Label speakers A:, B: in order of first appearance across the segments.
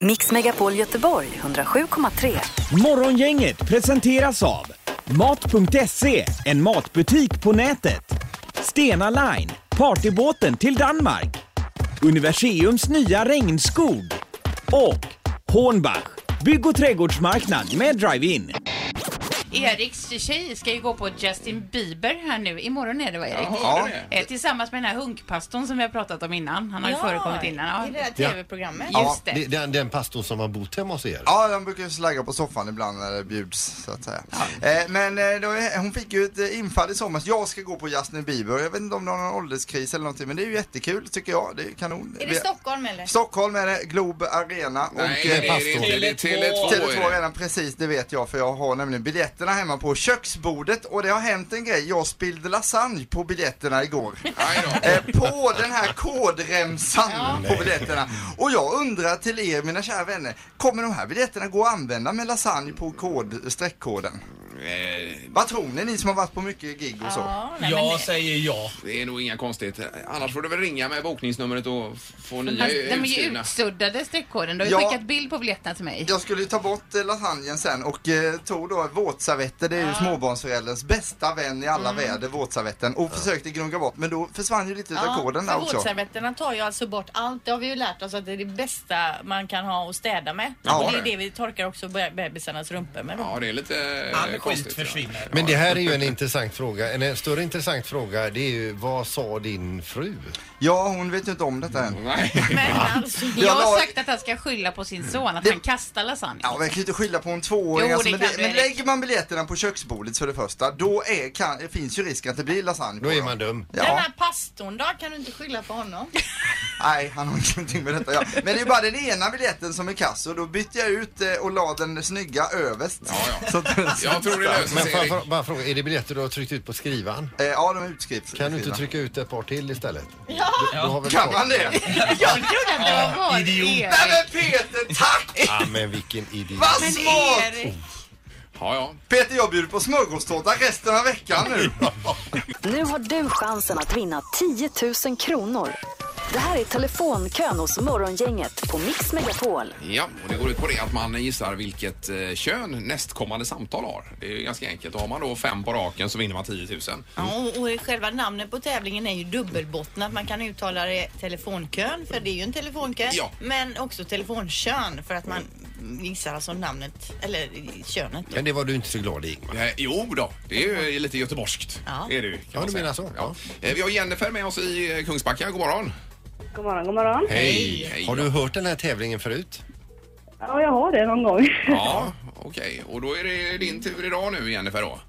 A: Mix Megapol Göteborg 107,3.
B: Morgongänget presenteras av Mat.se, en matbutik på nätet. Stena Line, partybåten till Danmark. Universiums nya regnskog. Och Hornbach, bygg och trädgårdsmarknad med drive-in.
C: Eriks tjej ska ju gå på Justin Bieber här nu. Imorgon är det va Erik?
D: Ja. det
C: Eh, Tillsammans med den här hunkpastorn som vi har pratat om innan. Han har ju förekommit innan.
E: I det där
F: Ja.
E: tv-programmet.
C: Ja. Just det.
F: det, den, den pastor som har bott hemma hos er.
D: Ja, de brukar ju slagga på soffan ibland när det bjuds så att säga. Eh, men eh, då, är- hon fick ju ett eh, infall i somras. Jag ska gå på Justin Bieber. Jag vet inte om det har någon ålderskris eller någonting men det är ju jättekul tycker jag. Det är ju kanon.
E: Är
D: Vi-
E: det Stockholm eller?
D: Stockholm är det, Globe Arena och
F: det är
D: eh,
F: pastor.
G: Det är Tele2.
D: Tele2 redan precis, det vet jag för jag har nämligen biljetterna hemma på köksbordet och det har hänt en grej. Jag spillde lasagne på biljetterna igår.
G: Aj då.
D: Eh, på den här kodremsan på biljetterna. Och jag undrar till er mina kära vänner, kommer de här biljetterna gå att använda med lasagne på kod, streckkoden?
G: Eh,
D: Vad tror ni, ni som har varit på mycket gig och så?
E: Ja, nej, men,
F: Jag säger ja.
G: Det är nog inga konstigt. Annars får du väl ringa med bokningsnumret och f- få nya
C: Fast de är ju
G: utskrivna.
C: utsuddade streckkoden. Du har ju
D: Ja.
C: skickat bild på biljetterna till mig.
D: Jag skulle ju ta bort eh, lasagnen sen och eh, tog då våtservetter, det är ju småbarnsförälderns bästa vän i alla
E: Mm.
D: väder, våtservetten, och försökte gnugga bort men då försvann ju lite utav
E: ja,
D: koden alltså. där
E: för
D: också.
E: Våtservetterna tar ju alltså bort allt. Det har vi ju lärt oss att det är det bästa man kan ha och städa med.
D: Ja.
E: och det är det vi torkar också be- bebisarnas rumpor med. då.
G: Ja, det är lite eh,
H: All skit
G: konstigt. ja.
H: försvinner.
F: Men det här är ju en intressant fråga. En eh, större intressant fråga det är ju vad sa din fru?
D: Ja, hon vet ju inte om detta än.
G: Nej.
E: Men alltså,
C: Jag har
D: la-
C: sagt att han ska skylla på sin son, att
D: Det-
C: han kastar lasagne.
D: Ja, men jag kan ju inte skylla på en tvååring.
C: Jo,
D: alltså,
C: det
D: men
C: kan
D: det,
C: du,
D: men
C: Erik.
D: lägger man biljetterna på köksbordet för det första, då är, kan, finns ju risk att det blir lasagne på
F: Då är
D: dem.
F: man dum.
E: Den
D: Ja,
E: här pastorn då? Kan du inte skylla på honom?
D: nej, han har ingenting med detta ja. Men det är ju bara den ena biljetten som är kass och då bytte jag ut eh, och la den snygga överst.
G: ja.
D: Så att,
G: Jag tror det löser
F: Men
G: sig.
F: får
G: Erik.
F: jag bara fråga, är det biljetter du har tryckt ut på skrivan?
D: eh, ja, de är utskrivna.
F: Kan du inte trycka ut ett par till istället?
E: Ja.
F: Du, du har väl
D: Kan
F: kvar-
D: man det?
C: Jag trodde att det var vår
H: idiot.
C: Erik.
D: Nej men Peter, tack!
F: Ja, men vilken idiot.
D: Vad
E: Men
D: smart!
E: Erik,
G: Ja, ja.
D: Peter, jag bjuder på smörgåstårta resten av veckan nu.
A: Nu har du chansen att vinna 10 000 kronor. Det här är telefonkön hos Morgongänget på Mix Megapol.
G: Ja, och det går ut på det att man gissar vilket eh, kön nästkommande samtal har. Det är ju ganska enkelt. Har man då fem på raken så vinner man 10 000.
E: Ja, och, och själva namnet på tävlingen är ju dubbelbottnat. Man kan uttala det telefonkön, för det är ju en telefonkö.
G: Ja.
E: Men också telefonkön, för att man gissar alltså namnet, eller könet. Då.
F: Men det var du inte så glad i Ingmar.
G: Eh, Jo då, det är ju lite göteborgskt.
E: Ja.
G: Det är det, ju, kan
F: Ja,
G: man
F: du
G: säga.
F: menar så.
G: Ja. Eh, Vi har Jennifer med oss i eh, Kungsbacka. God morgon.
I: God morgon, god morgon.
G: Hej. Hej.
F: Har du hört den här tävlingen förut?
I: Ja, jag har det någon gång.
G: Ja, okej. Och då är det din tur idag nu Jennifer då.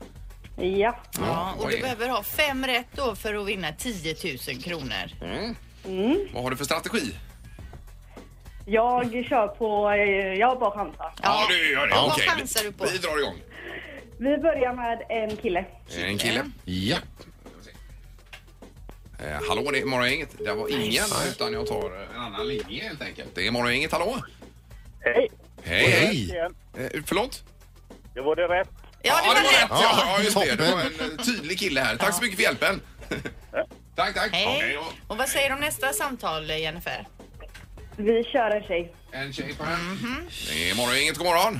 I: ja.
E: Ja, och
G: vad
E: du
G: är-
E: behöver ha fem rätt då för att vinna 10 000 kronor.
G: Vad har du för strategi?
I: Jag kör på... eh, Jag bara chansar.
G: Ja, du gör det.
E: Vad
G: Okej.
E: chansar du på?
G: Vi drar igång.
I: Vi börjar med en kille.
G: En kille.
F: Ja.
G: Eh, hallå, det är Morgongänget. Det var ingen, utan jag tar en annan linje helt enkelt. Det är Morgongänget, hallå?
I: Hej!
G: Hej!
F: Hej!
G: Eh, förlåt?
I: Det var det rätt.
E: Ja, det var rätt!
G: Ja, ja, just det.
F: toppen.
G: Det var en eh, tydlig kille här. Tack så mycket för hjälpen. tack, tack.
E: Hej.
G: Okej, då.
E: Och vad säger du om nästa samtal, Jennifer?
I: Vi kör en tjej.
G: En tjej på den.
E: Mhm.
G: Det är Morgongänget, god morgon.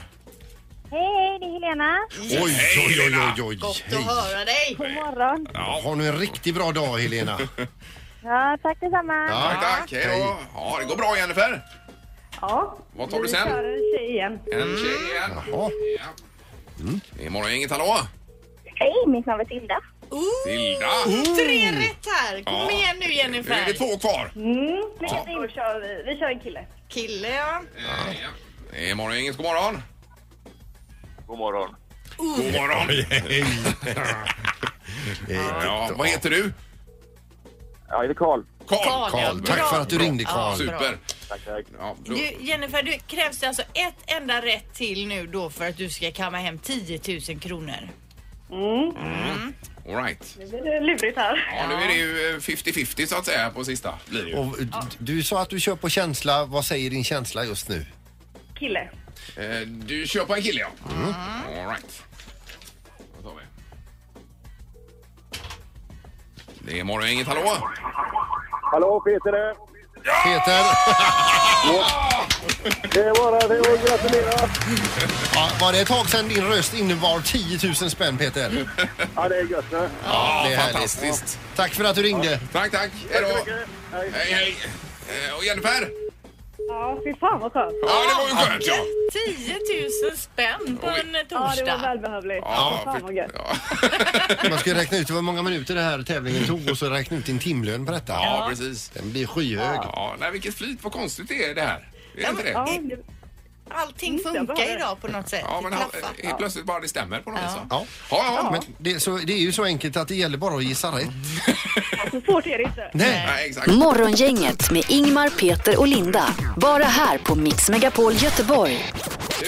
I: Hej, hej, det är Helena.
F: Oj, oj, oj, oj, oj.
E: Gott
F: Hej.
E: att höra dig!
I: God morgon.
F: Ja, har du en riktigt bra dag Helena.
I: Ja, tack detsamma. Ja.
G: Tack, tack. Hej då. Ja, det går bra Jennifer. Vad tar du sen?
I: Vi kör en tjej igen.
G: En tjej igen.
F: Ja.
G: Ja.
E: Mm.
G: Det är Morgongänget, hallå?
I: Hej, mitt namn är Tilda.
G: Tilda.
E: Tre Oh, rätt här! Kom
G: Ja.
E: igen nu,
G: Nu är det
E: Jennifer!
G: två kvar.
I: Mm, lycka till. Då kör vi. Vi kör en kille.
E: Kille, ja.
G: Ja. Det är Morgongänget, god morgon.
J: God morgon.
G: God morgon. Ja, vad heter du?
J: Ja, är det Karl?
G: Karl.
E: Karl, ja.
F: Karl, tack
E: Bra.
F: för att du ringde
E: Ja,
F: Karl.
E: bra.
G: Super.
J: Tack, tack.
G: Ja, då,
E: Du, Jennifer, du krävs det alltså ett enda rätt till nu då för att du ska kamma hem 10 000 kronor.
G: Mm. all right.
I: Mm. Nu blir det lurigt här.
G: Ja, nu är det ju eh, 50-50 så att säga på sista. Blir det ju.
F: Och d- du sa att du kör på känsla. Vad säger din känsla just nu?
I: Kille.
G: Eh, Du kör på en kille, ja.
F: Mm.
G: Mm. All right. Då tar vi. Det är Morgongänget, hallå?
J: Hallå, Peter här.
F: Peter!
J: Det var det. Det var gratulerar.
F: Ja, var det ett tag sedan din röst innebar 10 000 spänn Peter?
J: Ja, det är gött nu.
G: Ja,
F: det är härligt.
G: fantastiskt.
F: Tack för att du ringde.
G: Tack, tack. Hej
J: Tack så
G: då.
J: mycket. Hej.
G: Hej, hej. Eh, Och Jennifer?
I: Ja, fy fan vad skönt.
G: Ja, det var ju skönt ja.
E: 10 000 spänn på
G: Oj.
E: en
I: Ja, det var
E: torsdag.
I: välbehövligt.
G: Ja,
I: Fy fan
G: för-
I: vad gött.
G: ja.
F: Man ska ju räkna ut hur många minuter det här tävlingen tog och så räkna ut din timlön på detta.
G: ja, precis.
F: Den blir skyhög.
G: Ja, nej, vilket flyt. Vad konstigt det är det här. Är det inte
I: Ja,
G: det?
I: det-
E: Allting
I: Mm, jag
E: funkar
I: behöver-
E: idag på något sätt.
G: Ja, men
E: Det
G: han- eh,
E: klaffar.
G: helt plötsligt bara det stämmer på något vis. va?
F: Ja.
G: Ja, ja.
F: Men det, är så, det är ju så enkelt att det gäller bara att gissa rätt.
I: så svårt är det inte.
F: Nej.
G: Nej, exakt.
A: Morgongänget med Ingmar, Peter och Linda. Bara här på Mix Megapol Göteborg.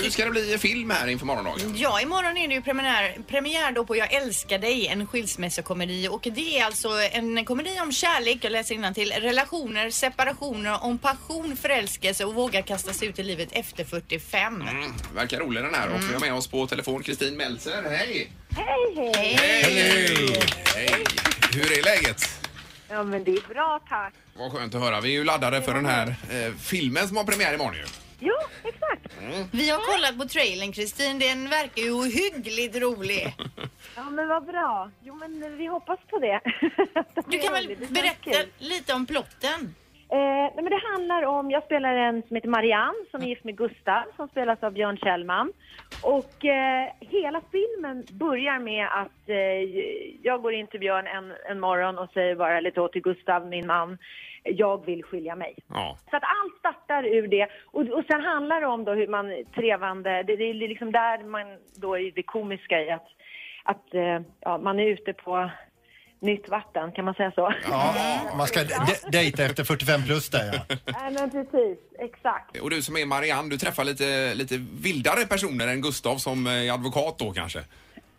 G: Nu ska det bli film här inför morgondagen.
E: Ja, imorgon är det ju premiär, premiär då på Jag älskar dig, en skilsmässokomedi. Och det är alltså en komedi om kärlek, jag läser till relationer, separationer, om passion, förälskelse och våga kasta sig ut i livet efter 45.
G: Mm, verkar rolig den här. Och vi har med oss på telefon Kristin Meltzer. Hej!
I: Hej, hej.
G: Hej! Hej! Hur är läget?
I: Ja, men det är bra, tack.
G: Vad skönt att höra. Vi är ju laddade för den här eh, filmen som har premiär imorgon ju.
I: Jo, exakt.
E: Vi har kollat på trailern Kristin, den verkar ju ohyggligt rolig.
I: Ja, men vad bra. Jo, men vi hoppas på det.
E: Du kan väl
I: Det känns
E: berätta
I: kul.
E: lite om plotten?
I: Eh, nej, men det handlar om, jag spelar en som heter Marianne som är gift med Gustav som spelas av Björn Kjellman. Och eh, hela filmen börjar med att eh, jag går in till Björn en, en morgon och säger bara lite åt till Gustav, min man, jag vill skilja mig.
G: Ja.
I: Så att allt startar ur det. Och, och sen handlar det om då hur man trevande, det, det är liksom där man då är det komiska i att, att eh, ja, man är ute på nytt vatten, kan man säga så?
F: Ja, man ska de- dejta efter 45 plus där ja.
I: Nej men precis, exakt.
G: Och du som är Marianne, du träffar lite, lite vildare personer än Gustav som eh, är advokat då kanske?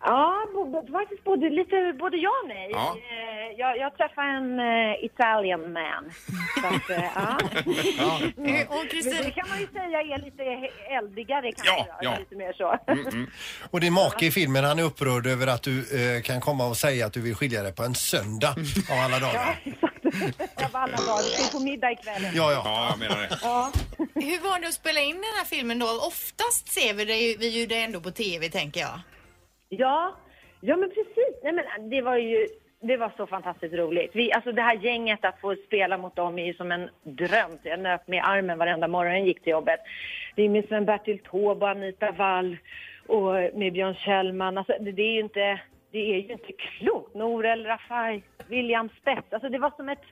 I: Ja, bo- bo- faktiskt både, lite, både ja och nej.
G: Ja.
I: Eh, Jag, jag träffade en eh, Italian man. Så att, eh, ja.
E: Eh, Och
I: Men det
E: Kristin,
I: kan man ju säga är lite he- eldigare kanske.
G: Ja,
I: då,
G: ja. Mm.
I: Lite mer så.
F: Och din make i filmen han är upprörd över att du eh, kan komma och säga att du vill skilja dig på en söndag av alla dagar.
I: Exakt. Jag var alla dagar. Vi ska på middag ikväll.
F: Ja, ja.
G: Ja, jag menar det.
E: hur var det att spela in den här filmen då? Oftast ser vi dig, vi ju dig ändå på TV tänker jag.
I: Ja, ja men precis. Nej, men äh, det var ju det var så fantastiskt roligt. Vi, alltså det här gänget, att få spela mot dem är ju som en dröm. Jag nöp mig i armen varenda morgon jag gick till jobbet. Det är med Sven-Bertil Taube, Anita Wall och med Björn Kjellman. Alltså det, det är ju inte, det är ju inte klokt. Norel Rafai, William Spett. Alltså det var som ett,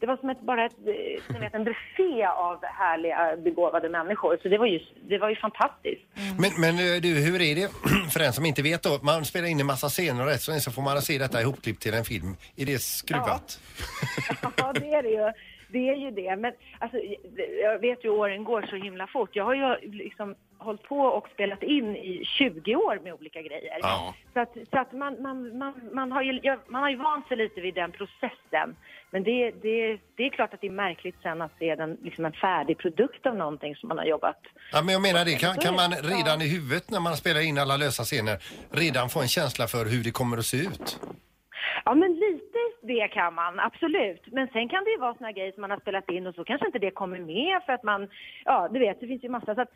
I: det var som ett, bara ett, eh, ni vet, en buffé av härliga begåvade människor. Så det var ju, det var ju fantastiskt.
F: Men, men eh, du, hur är det för den som inte vet då? Man spelar in en massa scener och rätt så, så får man se detta ihopklippt till en film. Är det skruvat?
I: Ja, det är det ju. Det är ju det. Men alltså, jag vet ju åren går så himla fort. Jag har ju liksom hållit på och spelat in i 20 år med olika grejer.
G: Ja.
I: Så att, så att man, man, man, man, har ju, ja, man har ju vant sig lite vid den processen. Men det, det, det är klart att det är märkligt sen att se den, liksom en färdig produkt av någonting som man har jobbat.
F: Ja, men jag menar det. Kan, kan man redan i huvudet när man spelar in alla lösa scener redan få en känsla för hur det kommer att se ut?
I: Ja, men lite det kan man, absolut. Men sen kan det ju vara såna grejer som man har spelat in och så kanske inte det kommer med för att man, ja du vet, det finns ju massa. Så att,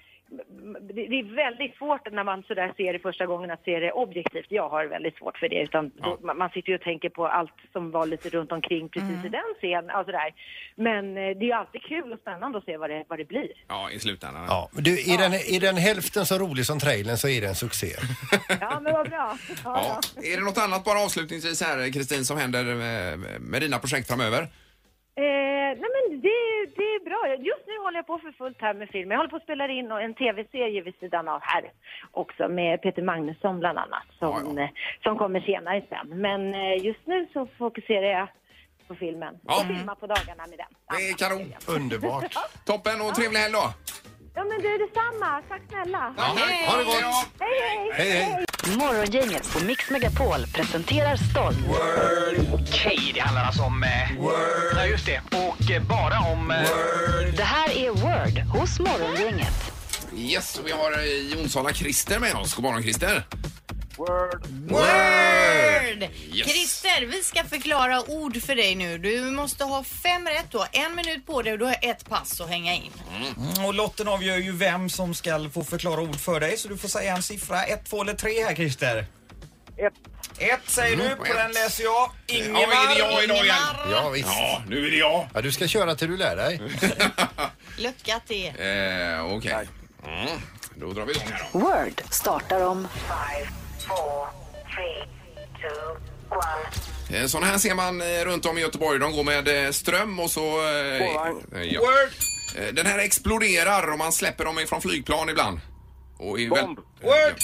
I: m- det, det är väldigt svårt när man sådär ser det första gången att se det objektivt. Jag har väldigt svårt för det utan då, man, man sitter ju och tänker på allt som var lite runt omkring precis i den scenen och sådär. Men eh, det är ju alltid kul och spännande att se vad det, vad det blir.
G: Ja, i slutändan.
F: Ja, men du, är, den, är den hälften så rolig som trailern så är det en succé.
I: Ja, men vad bra. Ja, ja.
G: Ja. Är det något annat bara avslutningsvis här Kristin som händer eh, med dina projekt framöver?
I: Eh, nej men det, det är bra. Just nu håller jag på för fullt här med film. Jag håller på att spela in en tv-serie vid sidan av här också med Peter Magnusson bland annat som,
G: Ja, ja.
I: eh, som kommer senare sen. Men eh, just nu så fokuserar jag på filmen.
G: Ja.
I: Och filmar på dagarna med den.
G: Det är kanon.
F: Underbart.
G: Toppen och trevlig helg då.
I: Ja men du detsamma. Tack snälla.
G: Ha det gott.
I: Hej hej!
F: Hej, hej.
A: Morgongänget på Mix Megapol presenterar stolt.
H: Okej, det handlar alltså om... Eh, Word. Ja, just det. Och eh, bara om... Eh,
A: Det här är Word hos Morgongänget.
G: Yes, och vi har eh, Jonsala Christer med oss. God morgon Christer.
J: Word.
E: Word!
J: Yes.
E: Christer, vi ska förklara ord för dig nu. Du måste ha fem rätt då. En minut på dig och du har ett pass att hänga in.
K: Mm, och lotten avgör ju vem som ska få förklara ord för dig så du får säga en siffra, ett, två eller tre här Christer. Ett. Ett säger
F: Mm,
K: du, på
F: ett.
K: den läser jag. Ingemar.
F: Ja, är det jag idag igen?
K: Ingemar.
F: Ja, visst.
G: Ja, nu är det jag.
F: Ja, du ska köra till du lär dig.
E: Lycka till.
G: Eh, Okej. Mm. Då drar vi igång här då.
A: Word startar om...
G: Eh, Sådana här ser man eh, runt om i Göteborg. De går med eh, ström och så... eh,
J: Spårvagn.
G: eh, ja. Eh, Den här exploderar och man släpper dem ifrån flygplan ibland. Och är väl-
J: Bomb.
K: Word.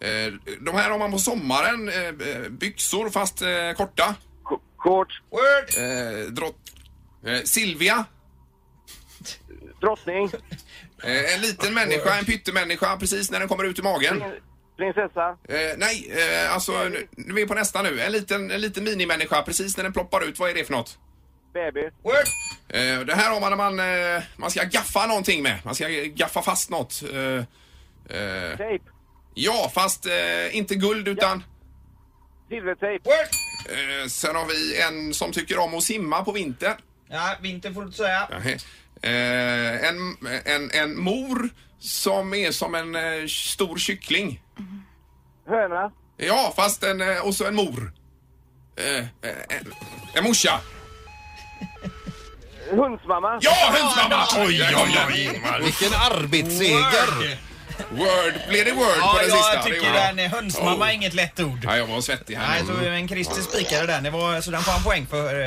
G: Eh, De här har man på sommaren. eh, eh, Byxor fast eh, korta.
J: Shorts.
K: Word.
G: Eh, Drott... eh, Silvia.
J: Drottning.
G: Eh, En liten människa, en pyttemänniska precis när den kommer ut ur
J: Mm.
G: magen.
J: Prinsessa.
G: Eh, nej, eh, alltså nu, nu är vi på nästa nu. En liten, en liten minimänniska precis när den ploppar ut. Vad är det för något?
J: Baby.
K: Word.
G: Eh, det här har man när man, eh, man ska gaffa någonting med. Man ska gaffa fast något. Eh, eh,
J: Tejp.
G: ja, fast eh, inte guld utan...
J: Silvertejp.
K: Word.
G: Eh, sen har vi en som tycker om att simma på vintern.
K: Ja, vinter får du inte säga.
G: Eh, en, en, en mor som är som en eh, stor kyckling.
J: Höna.
G: Ja, fast en... eh, Och så en mor. Eh, eh, en, en morsa.
J: Hundsmamma.
G: Ja, hönsmamma! Oj, oj, oj,
F: Vilken arbetsseger!
G: Word. Blev det word på
K: Ja,
G: den
K: jag
G: sista? Det
K: tycker
G: gjorde
K: den är hönsmamma
G: Oh.
K: är inget lätt ord.
G: Ja, jag var svettig här.
K: Nej, så, men Christer spikade den, det var, så den får han poäng för. Eh,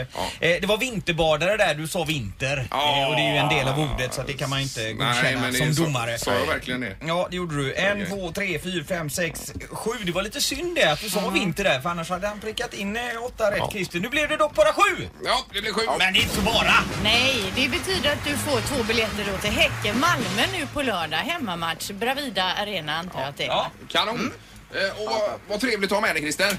K: eh, Det var vinterbadare där, du sa vinter.
G: Ja.
K: Eh, Och det är ju en del av ordet så att det kan man inte
G: Nej,
K: godkänna
G: men det är
K: som
G: så-
K: domare.
G: Sa jag verkligen det?
K: Ja, det gjorde du. En,
G: Okej.
K: två, tre, fyra, fem, sex, sju. Det var lite synd det att du sa vinter där, för annars hade han prickat in eh, åtta rätt, Christer. Nu blev det dock bara sju!
G: Ja, det blev sju.
K: Men det är inte så bara.
E: Nej, det betyder att du får två biljetter då till Häcken Malmö nu på lördag. Hemmamatch, Bravida Arena antar jag att det är.
K: Ja. Mm.
G: Kanon. Eh, och vad, vad trevligt att ha med dig, Christer.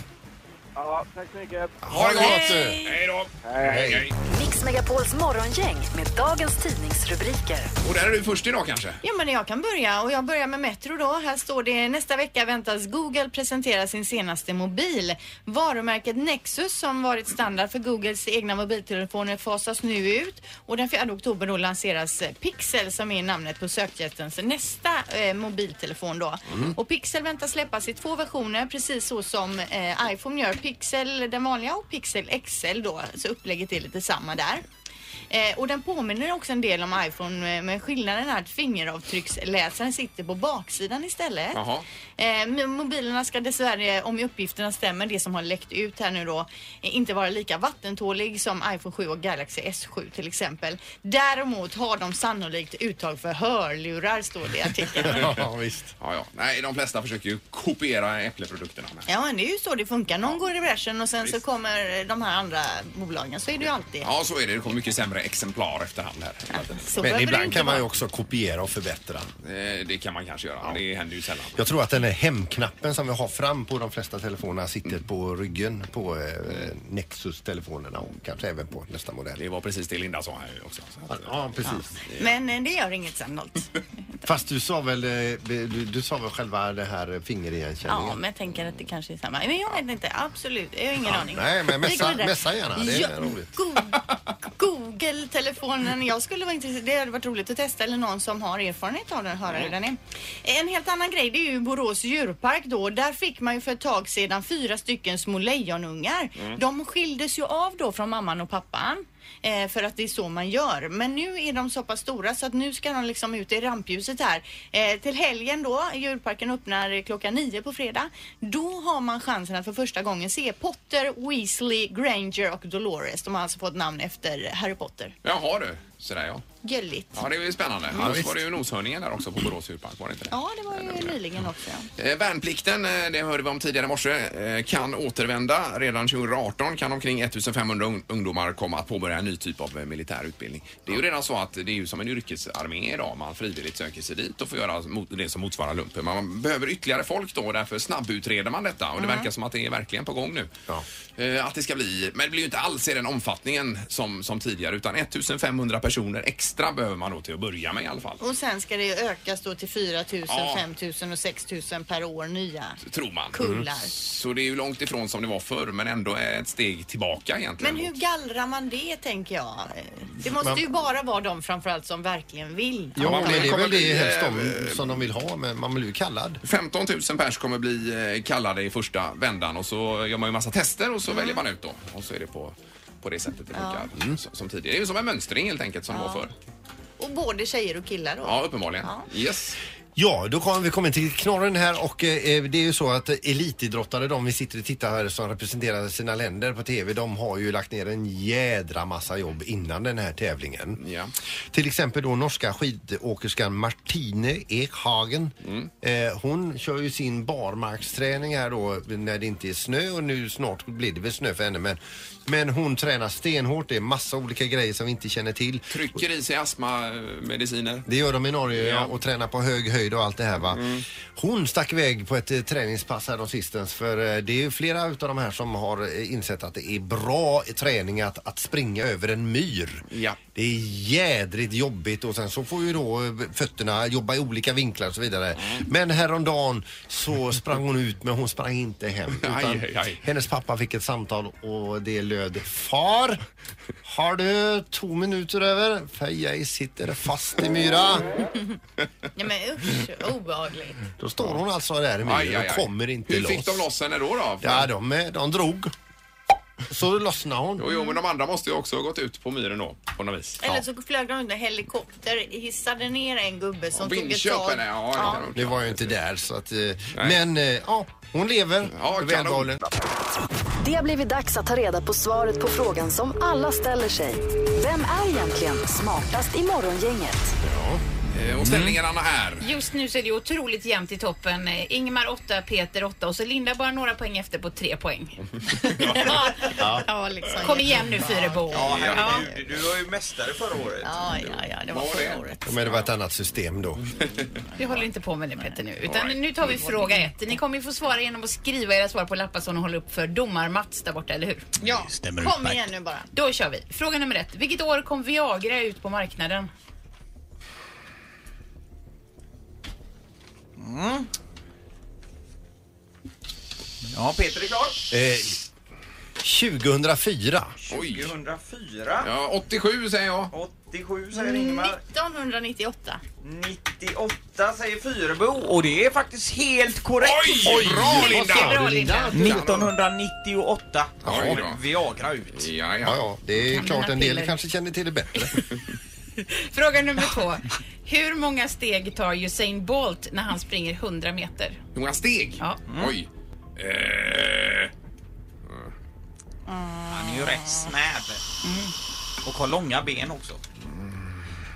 J: Ja, tack så mycket.
G: Ha det gott!
E: Hej.
G: Hej då!
J: Hej.
G: Hej.
A: Mix Megapols morgongäng med dagens tidningsrubriker.
G: Och där är du först idag kanske?
E: Ja, men jag kan börja och jag börjar med Metro då. Här står det nästa vecka väntas Google presentera sin senaste mobil. Varumärket Nexus som varit standard för Googles egna mobiltelefoner fasas nu ut och den 4 oktober då lanseras eh, Pixel som är namnet på sökjättens nästa eh, mobiltelefon då. Och Pixel väntas släppas i två versioner precis så som eh, iPhone gör. Pixel den vanliga och Pixel XL då, så upplägget är lite samma där. Eh, och den påminner också en del om iPhone eh, men skillnaden är att fingeravtrycksläsaren sitter på baksidan istället.
G: Jaha.
E: Eh, men mobilerna ska dessvärre, om uppgifterna stämmer, det som har läckt ut här nu då, eh, inte vara lika vattentålig som iPhone 7 och Galaxy S7 till exempel. Däremot har de sannolikt uttag för hörlurar, står det i artikeln.
F: Ja, visst.
G: Ja, ja. Nej, de flesta försöker ju kopiera äppleprodukterna. Men...
E: Ja, men det är ju så det funkar. Någon går i bräschen och sen så kommer de här andra bolagen. Så är det ju alltid.
G: Ja, så är det. Det kommer mycket sämre exemplar efterhand här.
E: Så behöver
F: Men
E: det
F: ibland
E: inte
F: kan man
E: vara.
F: ju också kopiera och förbättra.
G: Eh, Det kan man kanske göra. men Det händer ju sällan.
F: Jag tror att den här hemknappen som vi har fram på de flesta telefonerna sitter på ryggen på eh, Nexus-telefonerna och kanske även på nästa modell.
G: Det var precis det Linda sa här också. Så att-
F: Ja, precis.
E: Men eh, det gör inget sannolikt.
F: Fast du sa väl, eh, du, du sa väl själva det här fingerigenkänningen?
E: Ja, men jag tänker att det kanske är samma. Men jag vet inte, absolut. Jag har ingen aning.
F: nej, men
E: Vi
F: messa-
E: går vidare.
F: messa gärna, det är
E: Ja,
F: roligt.
E: Go Google-telefonen. Jag skulle vara intresserad. Det hade varit roligt att testa eller någon som har erfarenhet av den höra hur den är. En helt annan grej, det är ju Borås djurpark då. Där fick man ju för ett tag sedan fyra stycken små lejonungar. De skildes ju av då från mamman och pappan. Eh, för att det är så man gör. Men nu är de så pass stora så att nu ska de liksom ut i rampljuset här. Eh, till helgen då, djurparken öppnar klockan nio på fredag. Då har man chansen att för första gången se Potter, Weasley, Granger och Dolores. De har alltså fått namn efter Harry Potter.
G: Jaha du. Sådär ja.
E: Gulligt.
G: Ja, det är ju spännande. Annars var det ju noshörningen där också på Borås djurpark, var det inte det?
E: Ja, det var ju nyligen också. ja.
G: Eh, Värnplikten, eh, det hörde vi om tidigare i morse, eh, kan återvända. Redan 2018 kan omkring 1500 ung- ungdomar komma att påbörja en ny typ av eh, militär utbildning. Det är ju redan så att det är ju som en yrkesarmé idag. Man frivilligt söker sig dit och får göra mot- det som motsvarar lumpen. Man behöver ytterligare folk då och därför snabbutreder man detta och det verkar som att det är verkligen på gång nu. Eh, Att det ska bli, men det blir ju inte alls i den omfattningen som, som tidigare utan 1500 personer personer extra behöver man då till att börja med i alla fall.
E: Och sen ska det ökas då till 4 000,
G: Ja.
E: 5 000 och 6 000 per år nya.
G: Tror man. Mm.
E: Kullar.
G: Så det är ju långt ifrån som det var förr men ändå ett steg tillbaka egentligen.
E: Men hur gallrar man det tänker jag? Det måste
G: Men-
E: ju bara vara de framförallt som verkligen vill.
G: Ja, men det är väl det helst
F: de som de vill ha, men man blir ju kallad.
G: 15 000 pers kommer bli eh, kallade i första vändan och så gör man ju massa tester och så väljer man ut då. Och så är det på, på det sättet det
E: Ja. Mm.
G: funkar som, som tidigare. Det är ju som en mönstring helt enkelt som det var förr.
E: Och både tjejer och killar då?
G: Ja, uppenbarligen. Yes.
F: Ja, då kommer vi komma till knorren här och eh, det är ju så att elitidrottare, de vi sitter och tittar här som representerar sina länder på TV, de har ju lagt ner en jädra massa jobb innan den här tävlingen. Till exempel då norska skidåkerskan Martine Ekhagen. Eh, hon kör ju sin barmarksträning här då när det inte är snö och nu snart blir det väl snö för henne men, men hon tränar stenhårt, det är massa olika grejer som vi inte känner till.
G: Trycker i sig astmamediciner.
F: Det gör de i Norge
G: Ja. Mm.
F: ja. och tränar på hög höjd och allt det här va. Hon stack iväg på ett eh, träningspass här sistens för eh, det är ju flera utav de här som har eh, insett att det är bra i träning att, att springa över en myr.
G: Ja.
F: Det är jädrigt jobbigt och sen så får ju då eh, fötterna jobba i olika vinklar och så vidare.
G: Mm.
F: Men häromdagen så sprang hon ut men hon sprang inte hem. Utan
G: Aj, aj, aj.
F: Hennes pappa fick ett samtal och det löd Far, har du två minuter över? För jag sitter fast i myra.
E: Nej men usch, obehagligt.
F: Då står hon alltså där i
G: Aj, aj,
F: myren
G: aj.
F: och kommer inte
G: Hur
F: loss.
G: fick de loss henne då? då?
F: Ja, de, eh, de drog. Så lossnade hon.
G: Jo, jo, men de andra måste ju också ha gått ut på myren då, på något vis.
E: Eller så flög de under helikopter, hissade ner en gubbe som tog ett tag.
G: Vindköpen, ja. ja.
E: Ja.
F: Det var ju inte där så att... eh, Men eh, ja, hon lever. Ja, välbehållen.
A: Det har blivit dags att ta reda på svaret på frågan som alla ställer sig. Vem är egentligen smartast i morgongänget?
G: Eh, Och ställningarna är?
C: Just nu så är det ju otroligt jämnt i toppen. Eh, Ingmar 8, Peter 8 och så Linda bara några poäng efter på 3 poäng.
K: Ja.
E: Ja, liksom.
C: Kom igen nu Fyrebo.
K: Ja, herregud. Du var ju mästare förra året.
E: Ja, ja, ja, det var förra året.
F: Men det var ett annat system då.
C: Vi håller inte på med det Petter nu.
F: All
C: Utan
F: right.
C: nu tar vi fråga ett. Ni kommer ju få svara genom att skriva era svar på lappar som ni håller upp för domar-Mats där borta, eller hur? Ja,
F: Stämmer
E: Kom igen nu bara.
C: Då kör vi. Fråga nummer ett. Vilket år kom Viagra ut på marknaden?
K: Mm. Ja, Peter är klar.
F: Eh, 2004.
K: 2004.
G: Ja, 87 säger jag.
K: 87 säger Ingmar.
E: 1998.
K: 98 säger Fyrebo. Och det är faktiskt helt korrekt.
G: Oj, bra, Linda. Bra, Linda.
K: 1998
F: Oj
K: kom
F: då.
K: Viagra ut.
G: Ja,
F: ja. det är
C: Kan
F: klart
C: mina
F: en del
C: piller.
F: kanske känner till det bättre.
C: Fråga nummer två. Hur många steg tar Usain Bolt när han springer 100 meter?
G: Hur många steg?
C: Ja.
E: Mm.
G: Oj. Eh,
K: Han är ju
E: Ah.
K: rätt snäv. Och har långa ben också.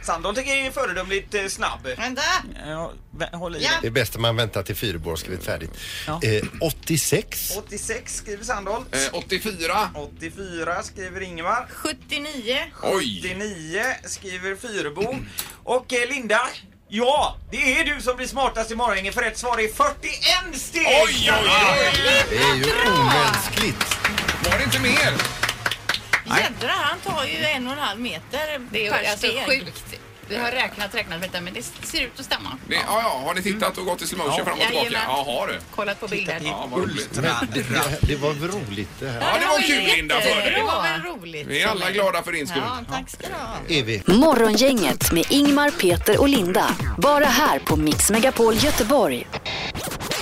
K: Sandholm tycker jag är föredömligt eh, snabb.
E: Vänta!
K: Ja, vä- håll i
F: Det är bäst om man väntar till Fyrebo har skrivit färdigt. Eh, 86.
K: dig. 86 skriver Sandholt.
G: Eh, 84.
K: 84 skriver Ingemar.
E: 79.
G: Oj.
K: 79 skriver Fyrebo. Och eh, Linda, ja, det är du som blir smartast i morgonen för rätt svar är 41 steg!
G: Oj, oj, oj.
F: Det är ju omänskligt.
G: Var det inte mer?
E: Jädrar, han tar ju en och en halv meter
C: Det är
E: per
C: alltså
E: steg.
C: sjukt. Vi har räknat, räknat, vänta, men det ser ut att stämma.
G: Det, ja, ja, har ni tittat och gått i slowmotion
C: Ja.
G: fram och tillbaka?
C: Jajamän.
G: Ja, har du.
C: Kollat på bilder.
G: Ja, vad roligt.
F: Det- Det var väl roligt det här.
G: Ja, det var kul Linda för
E: Det
G: dig.
E: var väl roligt?
G: Vi är alla glada för din skull.
E: Ja, tack ska du ha.
F: Evi.
A: Morgongänget med Ingmar, Peter och Linda. Bara här på Mix Megapol Göteborg.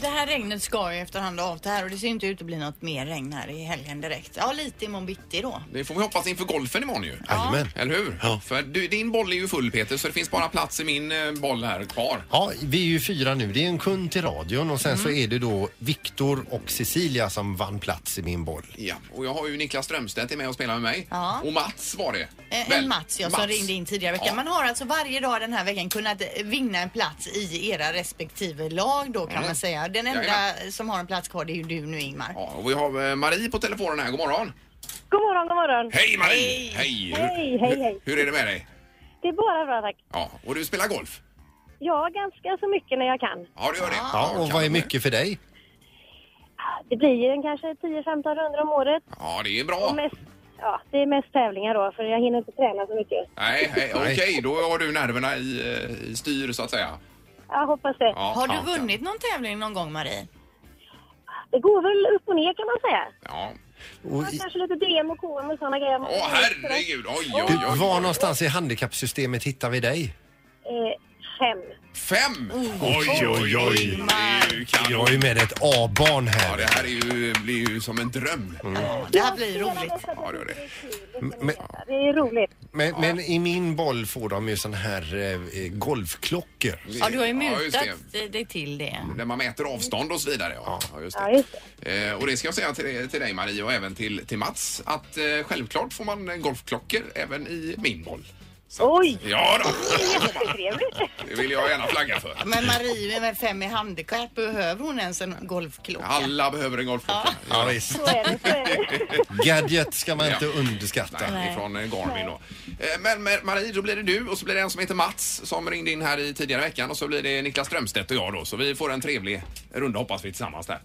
E: Det här regnet ska ju efterhand avta här och det ser inte ut att bli något mer regn här i helgen direkt. Ja, lite imorgon bitti då.
G: Det får vi hoppas inför golfen imorgon ju.
F: Jajamän.
G: Eller hur? För du, din boll är ju full Peter så det finns bara plats i min eh, boll här kvar.
F: Ja, vi är ju fyra nu. Det är en kund till radion och sen så
E: Mm.
F: är det då Viktor och Cecilia som vann plats i min boll.
G: Ja, och jag har ju Niklas Strömstedt är med och spelar med mig.
E: Ja.
G: Och Mats var det.
E: Eh,
G: Väl?
E: En Mats, jag som ringde in tidigare i veckan.
G: Ja.
E: Man har alltså varje dag den här veckan kunnat eh, vinna en plats i era respektive lag då kan
G: Mm.
E: man säga. Den enda
G: Jajamän.
E: som har en plats kvar det är ju du nu Ingmar.
G: Ja, och vi har eh, Marie på telefonen här. God morgon.
I: God morgon, god morgon.
G: Hej Marie! Hej!
I: Hej, hej, hej.
G: Hur är det med dig?
I: Det är bara bra tack.
G: Ja, och du spelar golf?
I: Ja, ganska så mycket när jag kan.
G: Ja, du gör det.
F: Ja, och vad är mycket för dig?
I: Det blir ju en kanske 10-15 runder om året.
G: Ja, det är
I: Och
G: bra.
I: mest,
L: ja, det är mest tävlingar då, för jag hinner inte träna så mycket.
G: Nej, nej, okej, då har du nerverna i, eh, i styr så att säga.
L: Jag hoppas det.
G: Ja,
E: Har du
G: ja,
E: vunnit någon tävling någon gång, Marie?
L: Det går väl upp och ner kan man säga.
G: Ja.
L: Och kanske lite DM och KM och sådana grejer.
G: Åh, herregud! Oj, oj,
F: Du,
G: oj.
F: var någonstans i handikappsystemet hittar vi dig?
L: Eh, fem.
G: Fem?
F: Oj, oj, oj.
G: Det är ju kanon.
F: Jag är ju med ett A-barn här. Mm.
G: Ja, det här är ju, blir ju som en dröm.
E: Det här blir roligt.
G: Ja, det gör det.
F: Men,
L: Det är roligt.
F: men, men i min boll får de ju sån här eh, eh, golfklockor.
E: Ja, du har ju
G: Ja, just
E: mutat
G: det.
E: dig till det.
G: Där man mäter avstånd och så vidare. Ja, ja, just det.
L: Ja, just
G: Eh, och det ska jag säga till, till dig Marie och även till, till Mats att eh, självklart får man eh, golfklockor även i min boll.
L: Oj!
G: Ja då,
L: Jättetrevligt.
G: det vill jag gärna flagga för.
E: Men Marie med fem i handikapp, behöver hon ens en golfklocka?
G: Alla behöver en golfklocka.
F: Ja, visst.
L: Så är det, så är det.
F: Gadget ska man
G: Ja.
F: inte underskatta.
G: Nej, ifrån eh, Garmin då. Eh, Men men Marie, då blir det du och så blir det en som heter Mats som ringde in här i tidigare veckan och så blir det Niklas Strömstedt och jag då. Så vi får en trevlig runda hoppas vi tillsammans där.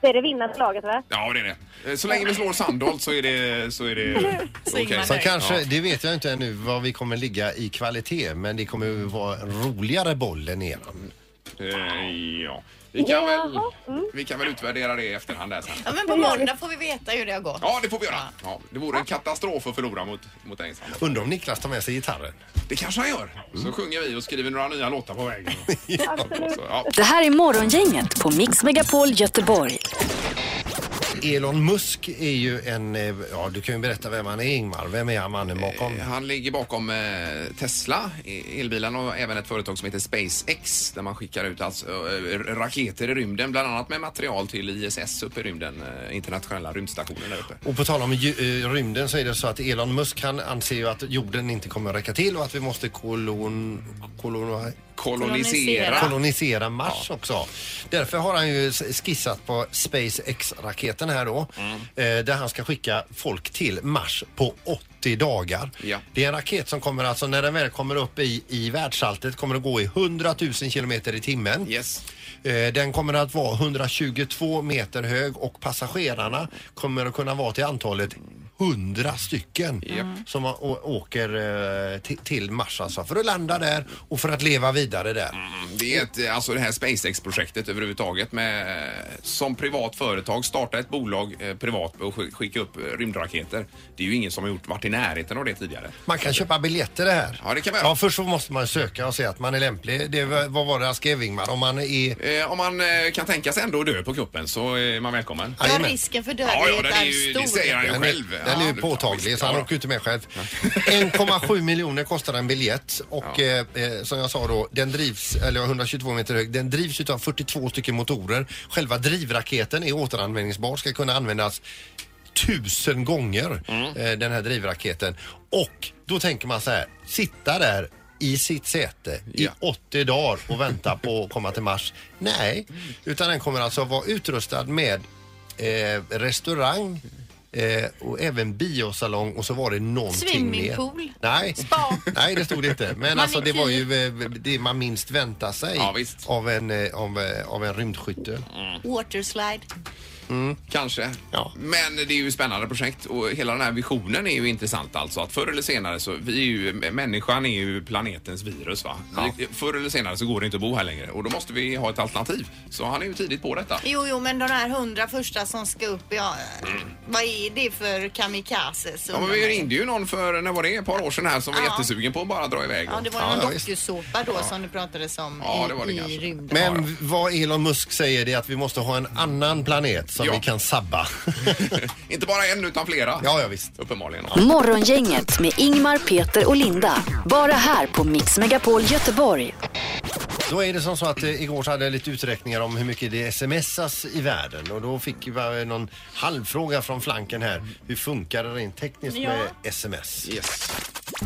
L: Det är det vinnande laget va?
G: Ja, det är det. Eh, Så länge vi slår Sandholt så är det... Så är det okej.
F: Så kanske,
G: Ja.
F: det vet jag inte ännu vad vi kommer ligga i kvalitet men det kommer ju vara en roligare boll än eran.
G: Eh, ja. Vi kan, väl,
I: mm.
G: vi kan väl utvärdera det i efterhand där sen.
E: Ja, men på måndag får vi veta hur det har gått.
G: Ja, det får vi göra. Ja, det vore en katastrof att förlora mot, mot dig Sandra.
F: Undrar om Niklas tar med sig gitarren. Mm.
G: Det kanske han gör. Så sjunger vi och skriver några nya låtar på vägen. Så, ja.
A: Det här är Morgongänget på Mix Megapol Göteborg.
F: Elon Musk är ju en, eh, ja du kan ju berätta vem han är Ingmar. Vem är han mannen bakom?
G: Han ligger bakom eh, Tesla, e- elbilen och även ett företag som heter SpaceX där man skickar ut alltså, eh, raketer i rymden, bland annat med material till ISS uppe i rymden, eh, internationella rymdstationen där uppe.
F: Och på tal om ju- eh, rymden så är det så att Elon Musk han anser ju att jorden inte kommer att räcka till och att vi måste kolon... kolon
G: Kolonisera.
F: kolonisera Mars också. Därför har han ju s- skissat på SpaceX-raketen här då. Eh, där han ska skicka folk till Mars på 80 dagar.
G: Ja.
F: Det är en raket som kommer alltså, när den väl kommer upp i, i världsalltet, kommer att gå i 100 000 kilometer i timmen.
G: Yes.
F: Eh, Den kommer att vara 122 meter hög och passagerarna kommer att kunna vara till antalet 100 stycken
G: Mm.
F: som å- å- åker eh, ti- till Mars alltså för att landa där och för att leva vidare där.
G: Det är ett, eh, alltså det här SpaceX-projektet överhuvudtaget med eh, som privat företag starta ett bolag eh, privat och sk- skicka upp eh, rymdraketer. Det är ju ingen som har gjort, varit i närheten av det tidigare.
F: Man kan köpa biljetter det här.
G: Ja, det kan man göra.
F: ja, först så måste man söka och se att man är lämplig. Det, var- vad var det han skrev Ingmar? Om man är...
G: Eh, om man eh, kan tänka sig ändå att dö på kuppen så är man välkommen.
E: Ja,
F: Jajamän.
E: risken för
G: Ja, ja,
E: dödlighet
G: den
E: är,
G: är ju,
E: stor.
G: det säger han ju
F: Den
G: själv.
F: är, den är ju
G: Ja,
F: påtaglig
G: visst,
F: så han
G: ja.
F: åker ju inte med själv. 1,7 miljoner kostar en biljett och eh, eh, som jag sa då, den drivs, eller 122 meter hög, den drivs utav 42 stycken motorer. Själva drivraketen är återanvändningsbar, ska kunna användas tusen gånger
G: Mm.
F: eh, den här drivraketen. Och då tänker man så här, sitta där i sitt säte
G: Ja.
F: i 80 dagar och vänta på att komma till Mars. Nej, utan den kommer alltså vara utrustad med eh, restaurang eh, och även biosalong och så var det någonting
E: Swimmingpool.
F: mer. Nej.
E: Spa.
F: Nej, det stod det inte. Men alltså det
E: Manikyr.
F: var ju eh, det man minst väntar sig
G: Ja, visst. Mm.
F: av, en, eh, av, eh, av en rymdskytte. Mm.
E: Waterslide.
G: Kanske.
F: Ja.
G: Men det är ju ett spännande projekt och hela den här visionen är ju intressant alltså. Att förr eller senare så, vi är ju, eh, människan är ju planetens virus va. Vi- Förr eller senare så går det inte att bo här längre och då måste vi ha ett alternativ. Så han är ju tidigt på detta.
E: Jo, jo, men de här hundra första som ska upp, ja,
G: Mm.
E: vad är det för kamikazes?
G: Ja, men vi ringde ju någon för, när var det? Ett par år sedan här som var
E: Ja.
G: jättesugen på att bara dra iväg.
E: Ja, det var ju
F: Ja,
E: någon
F: ja, visst.
E: dokusåpa då som det pratades om
G: Ja, det var det
E: i,
G: kanske.
E: i rymden.
F: Men v- vad Elon Musk säger det är att vi måste ha en annan planet som
G: Ja.
F: vi kan sabba.
G: inte bara en utan flera.
F: ja, ja visst.
G: Uppenbarligen.
A: Morgongänget med Ingmar, Peter och Linda. Bara här på Mix Megapol Göteborg.
F: Då är det som så att eh, igår så hade jag lite uträkningar om hur mycket det smsas i världen och då fick vi någon halvfråga från flanken här. Hur funkar det rent tekniskt med sms?
G: Yes.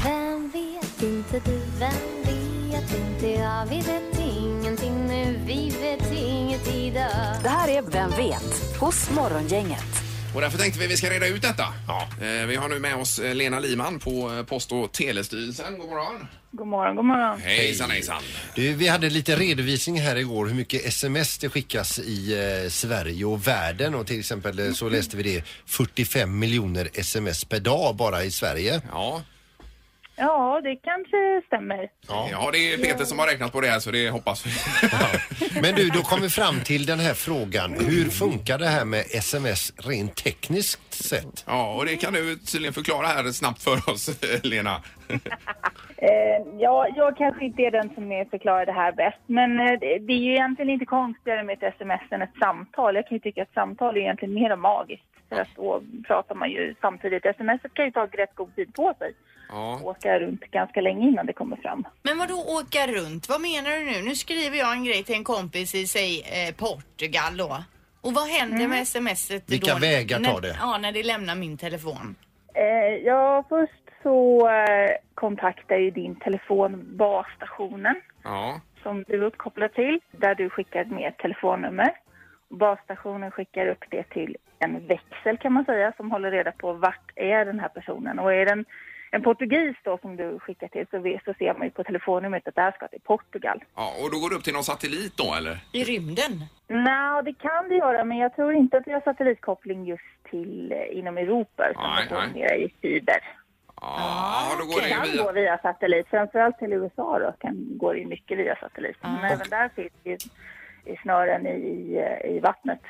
M: Vem vet inte du, vem vet inte jag Vi vet ingenting nu, vi vet inget idag
A: Det här är Vem vet? hos Morgongänget.
G: Och därför tänkte vi vi ska reda ut detta. Eh, Vi har nu med oss eh, Lena Liman på eh, Post och telestyrelsen. God morgon.
N: God morgon, god morgon.
G: Hejsan hejsan.
F: Du, vi hade lite redovisning här igår hur mycket sms det skickas i eh, Sverige och världen och till exempel eh, så läste vi det 45 miljoner sms per dag bara i Sverige.
G: Ja.
N: Ja, det kanske stämmer.
G: Ja. det är Peter som har räknat på det här så det hoppas vi.
F: Men du, då kommer vi fram till den här frågan. Hur funkar det här med sms rent tekniskt sett?
G: Ja, och det kan du tydligen förklara här snabbt för oss, Lena.
N: Eh, ja, jag kanske inte är den som är förklarar det här bäst, men eh, det det är ju egentligen inte konstigare med ett sms än ett samtal. Jag kan ju tycka att samtal är egentligen mer magiskt, för att då pratar man ju samtidigt. Sms kan ju ta rätt god tid på sig.
G: Ja.
N: Åka runt ganska länge innan det kommer fram.
E: Men vad då åka runt? Vad menar du nu? Nu skriver jag en grej till en kompis i, säg, eh, Portugal då. Och vad händer med smset då?
F: Vilka vägar tar
E: när,
F: det?
E: Ja, när det lämnar min telefon.
N: Eh, ja, först så eh, kontaktar ju din telefon basstationen
G: Ja.
N: som du är uppkopplad till, där du skickar med ett telefonnummer. Basstationen skickar upp det till en växel kan man säga som håller reda på vart är den här personen. Och är den en portugis då som du skickar till så, vet- så ser man ju på telefonnumret att det här ska till Portugal.
G: ja, och då går det upp till någon satellit då eller?
E: I rymden?
N: Nej, det kan det göra men jag tror inte att vi har satellitkoppling just till eh, inom Europa utan
G: Nej,
N: det går
G: nej.
N: mer i fiber.
G: Ja, då går
N: det
G: det
N: kan
G: via...
N: gå via satellit. Framförallt till USA då, kan, går det ju mycket via satellit. Men
E: Ah.
N: även där finns ju i snören i, i- eh, i vattnet.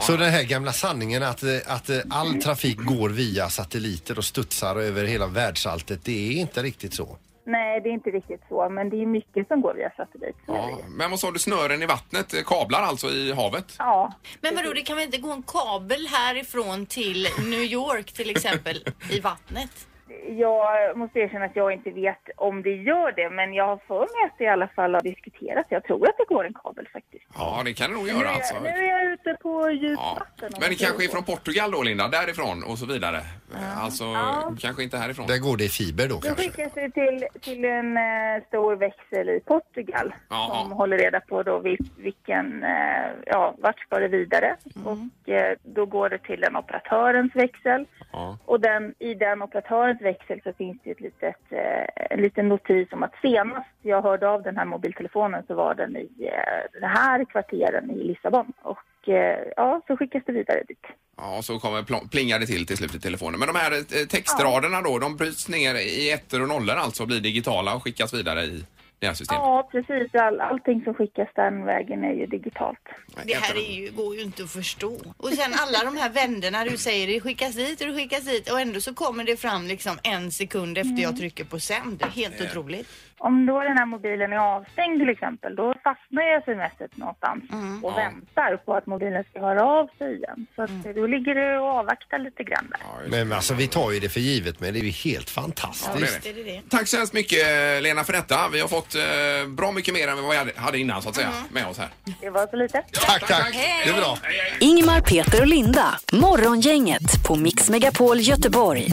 F: Så den här gamla sanningen att, eh, att eh, all trafik går via satelliter och studsar över hela världsalltet, det är inte riktigt så.
N: Nej, det är inte riktigt så, men det är mycket som går via satellit.
G: Ja. Men vad sa du, snören i vattnet? eh, Kablar alltså i havet?
N: Ja.
E: Men vadå, det kan väl inte gå en kabel härifrån till New York till exempel i vattnet?
N: Jag måste erkänna att jag inte vet om det gör det, men jag har för mig att det i alla fall har diskuterats. Jag tror att det går en kabel faktiskt.
G: Ja, det kan det nog
N: nu,
G: göra
N: är-
G: alltså.
N: nu är jag ute på djupt
G: Ja.
N: vatten. om
G: Men
N: jag
G: det
N: säger
G: kanske är
N: så.
G: från Portugal då, Linda? Därifrån och så vidare? Alltså,
N: Ja.
G: kanske inte härifrån.
F: Där går det i fiber då
N: Det
F: kanske.
N: skickas ju till, till en eh, stor växel i Portugal
G: Ja.
N: som håller reda på då vil, vilken, eh, ja, vart ska det vidare.
G: Mm.
N: Och eh, då går det till den operatörens växel.
G: Ja.
N: Och den, i den operatörens växel så finns det ett litet, eh, en liten notis om att senast jag hörde av den här mobiltelefonen så var den i eh, den här kvarteren i Lissabon. Och eh, ja, så skickas det vidare dit.
G: Ja, och så kommer pl- plingar det till till slut i telefonen. Men de här eh, textraderna då, de bryts ner i ettor och nollor alltså och blir digitala och skickas vidare i det här systemet.
N: Ja, precis. All, allting som skickas den vägen är ju digitalt.
E: Det här är ju, går ju inte att förstå. Och sen alla de här vänderna du säger, det skickas dit och det skickas dit och ändå så kommer det fram liksom en sekund efter
G: Mm.
E: jag trycker på sänd. Det är helt otroligt.
N: Om då den här mobilen är avstängd till exempel, då fastnar ju smset någonstans och
G: Ja.
N: väntar på att mobilen ska höra av sig igen. Så att då ligger du och avvaktar lite grann där.
F: Men alltså vi tar ju det för givet men det är ju helt fantastiskt.
N: det det.
G: Tack så hemskt mycket eh, Lena för detta. Vi har fått eh, bra mycket mer än vad jag hade innan så att säga med oss här.
N: Det var så lite.
F: Tack, tack. Det är bra.
A: Ingmar, Peter och Linda. Morgongänget på Mix Megapol Göteborg.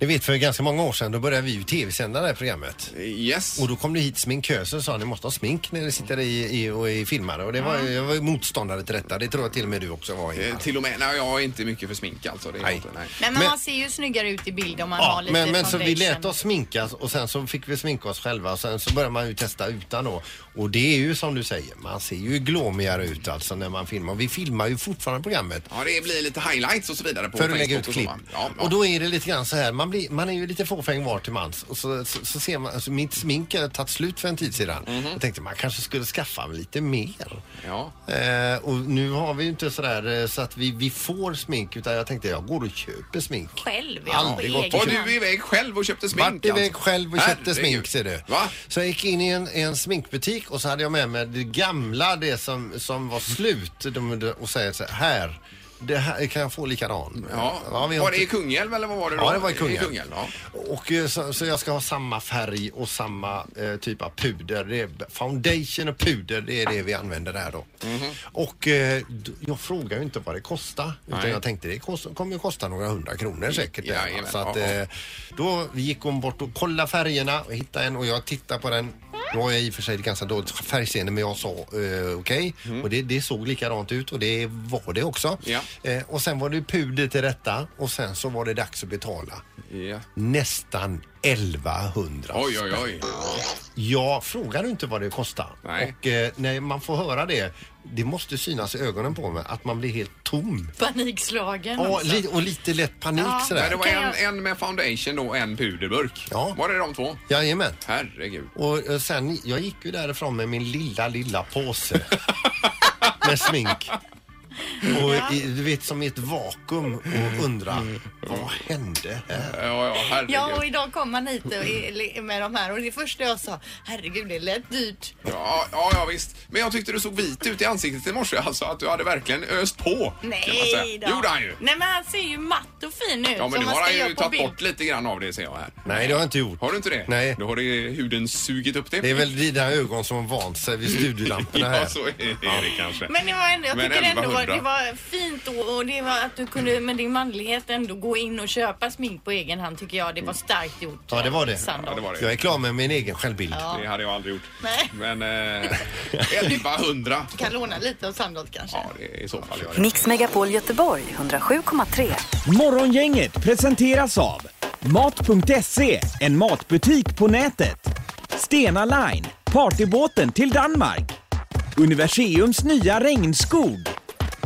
F: Ni vet för ganska många år sedan då började vi ju tv-sända det här programmet.
G: Yes.
F: Och då kom det hit sminköser och sa ni måste ha smink när ni sitter i, i, och i filmare. Och det var, jag var ju motståndare till detta. Det tror jag till och med du också var Ingmar.
G: Eh, Till och med, nej jag är inte mycket för smink alltså. Det är inte, nej.
E: Men,
F: Men-
E: man ser ju snyggare ut i bild om man har
F: Ja,
E: lite
F: men, men så vi
E: foundation.
F: lät oss sminkas och sen så fick vi sminka oss själva och sen så började man ju testa utan då. Och det är ju som du säger, man ser ju glåmigare ut alltså när man filmar. Vi filmar ju fortfarande programmet.
G: Ja, det blir lite highlights och så vidare på
F: För att lägga ut
G: Facebook och så,
F: klipp.
G: va? Ja, ja.
F: Och då är det lite grann så här, man, blir, man är ju lite fåfäng var till mans. Och så, så, så ser man, alltså mitt smink har tagit slut för en tid sedan.
G: Mhm.
F: Jag tänkte man kanske skulle skaffa mig lite mer.
G: Ja.
F: Eh, och nu har vi ju inte sådär eh, så att vi, vi får smink utan jag tänkte jag går och köper smink.
E: Själv, ja.
F: Aldrig
E: på
F: gått
E: egen
F: och
E: hand.
G: Du är iväg själv och köpte smink
F: Vart iväg
G: alltså.
F: själv och köpte
G: Herregud.
F: smink ser du.
G: Va?
F: Så jag gick in i en, en sminkbutik och så hade jag med mig det gamla, det som, som var slut. De, de- och säger så här, här, det här kan jag få likadan.
G: Ja.
F: vi har
G: var det i
F: inte-
G: Kungälv eller vad var det då?
F: Ja, det var i Kungälv.
G: ja.
F: Och eh, så, så jag ska ha samma färg och samma eh, typ av puder. Det är foundation och puder, det är det vi använder där då. Och eh, d- jag frågar ju inte vad det kostar. Utan
G: Nej.
F: jag tänkte det kost, kommer ju kosta några hundra kronor säkert. där, va?
G: Jajamän,
F: så att,
G: ja, ja.
F: eh, då gick hon bort och kollade färgerna och hittade en och jag tittade på den. Nu har jag i och för sig ett ganska dåligt färgseende men jag sa eh, okej
G: Mm.
F: och det, det såg likadant ut och det var det också. Eh, och sen var det puder till detta och sen så var det dags att betala
G: Ja.
F: nästan 1100
G: Oj, oj, oj.
F: jag frågar inte vad det kostar.
G: Nej.
F: Och eh, när man får höra det, det måste synas i ögonen på mig att man blir helt tom.
E: Panikslagen.
F: Ja,
E: alltså.
F: li- och lite lätt panik
E: Ja,
F: sådär.
G: Men det var
E: Kan
G: en,
E: jag-
G: en med foundation då och en puderburk. Ja. Var det de två?
F: Jajamän.
G: Herregud.
F: Och eh, sen, jag gick ju därifrån med min lilla, lilla påse. med smink. Och i, du vet som i ett vakuum och undra, vad hände här?
G: Mm. Ja, ja, herregud.
E: Ja, och idag kom man hit och, i- med de här och det första jag sa, herregud det lät dyrt.
G: Ja, ja, ja, visst. Men jag tyckte du såg vit ut i ansiktet i morse. Alltså att du hade verkligen öst på. kan man säga.
E: Nej då.
G: gjorde han ju.
E: Nej men han ser ju matt och fin ut.
G: Ja, men
E: som
G: nu
E: man
G: har
E: ska
G: han
E: göra
G: ju
E: på
G: tagit
E: bild.
G: bort lite grann av det ser jag här.
F: Nej, det har jag inte gjort.
G: Har du inte det?
F: Nej.
G: Då har det huden sugit upp det.
F: Det är väl dina ögon som har vant sig vid studiolamporna här.
G: Ja, så är det kanske.
E: Men det var ändå, jag
G: Men
E: tycker ändå
G: 1100.
E: att det var fint och, och det var att du kunde med din manlighet ändå gå in och köpa smink på egen hand tycker jag. Det var starkt gjort.
F: Ja, det var det.
E: Sandra.
G: det var det.
F: Jag är klar med min egen självbild.
E: Ja.
G: Det hade jag aldrig gjort.
E: Nej.
G: Men eh, 1100.
E: Du kan låna lite av Sandholt kanske.
G: Ja, det är i så fall. jag gör.
A: Mix Megapol Göteborg 107,3.
B: Morgongänget presenteras av Mat.se, en matbutik på nätet. Stena Line, partybåten till Danmark. Universiums nya regnskog.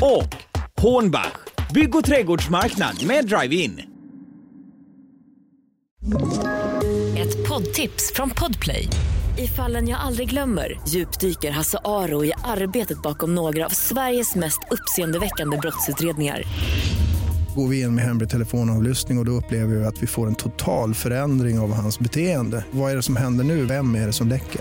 B: Och Hornbach, bygg och trädgårdsmarknad med drive-in.
O: Ett poddtips från Podplay. I fallen jag aldrig glömmer djupdyker Hasse Aro i arbetet bakom några av Sveriges mest uppseendeväckande brottsutredningar.
P: Går vi in med hemlig telefonavlyssning och, och då upplever vi att vi får en total förändring av hans beteende. Vad är det som händer nu? Vem är det som läcker?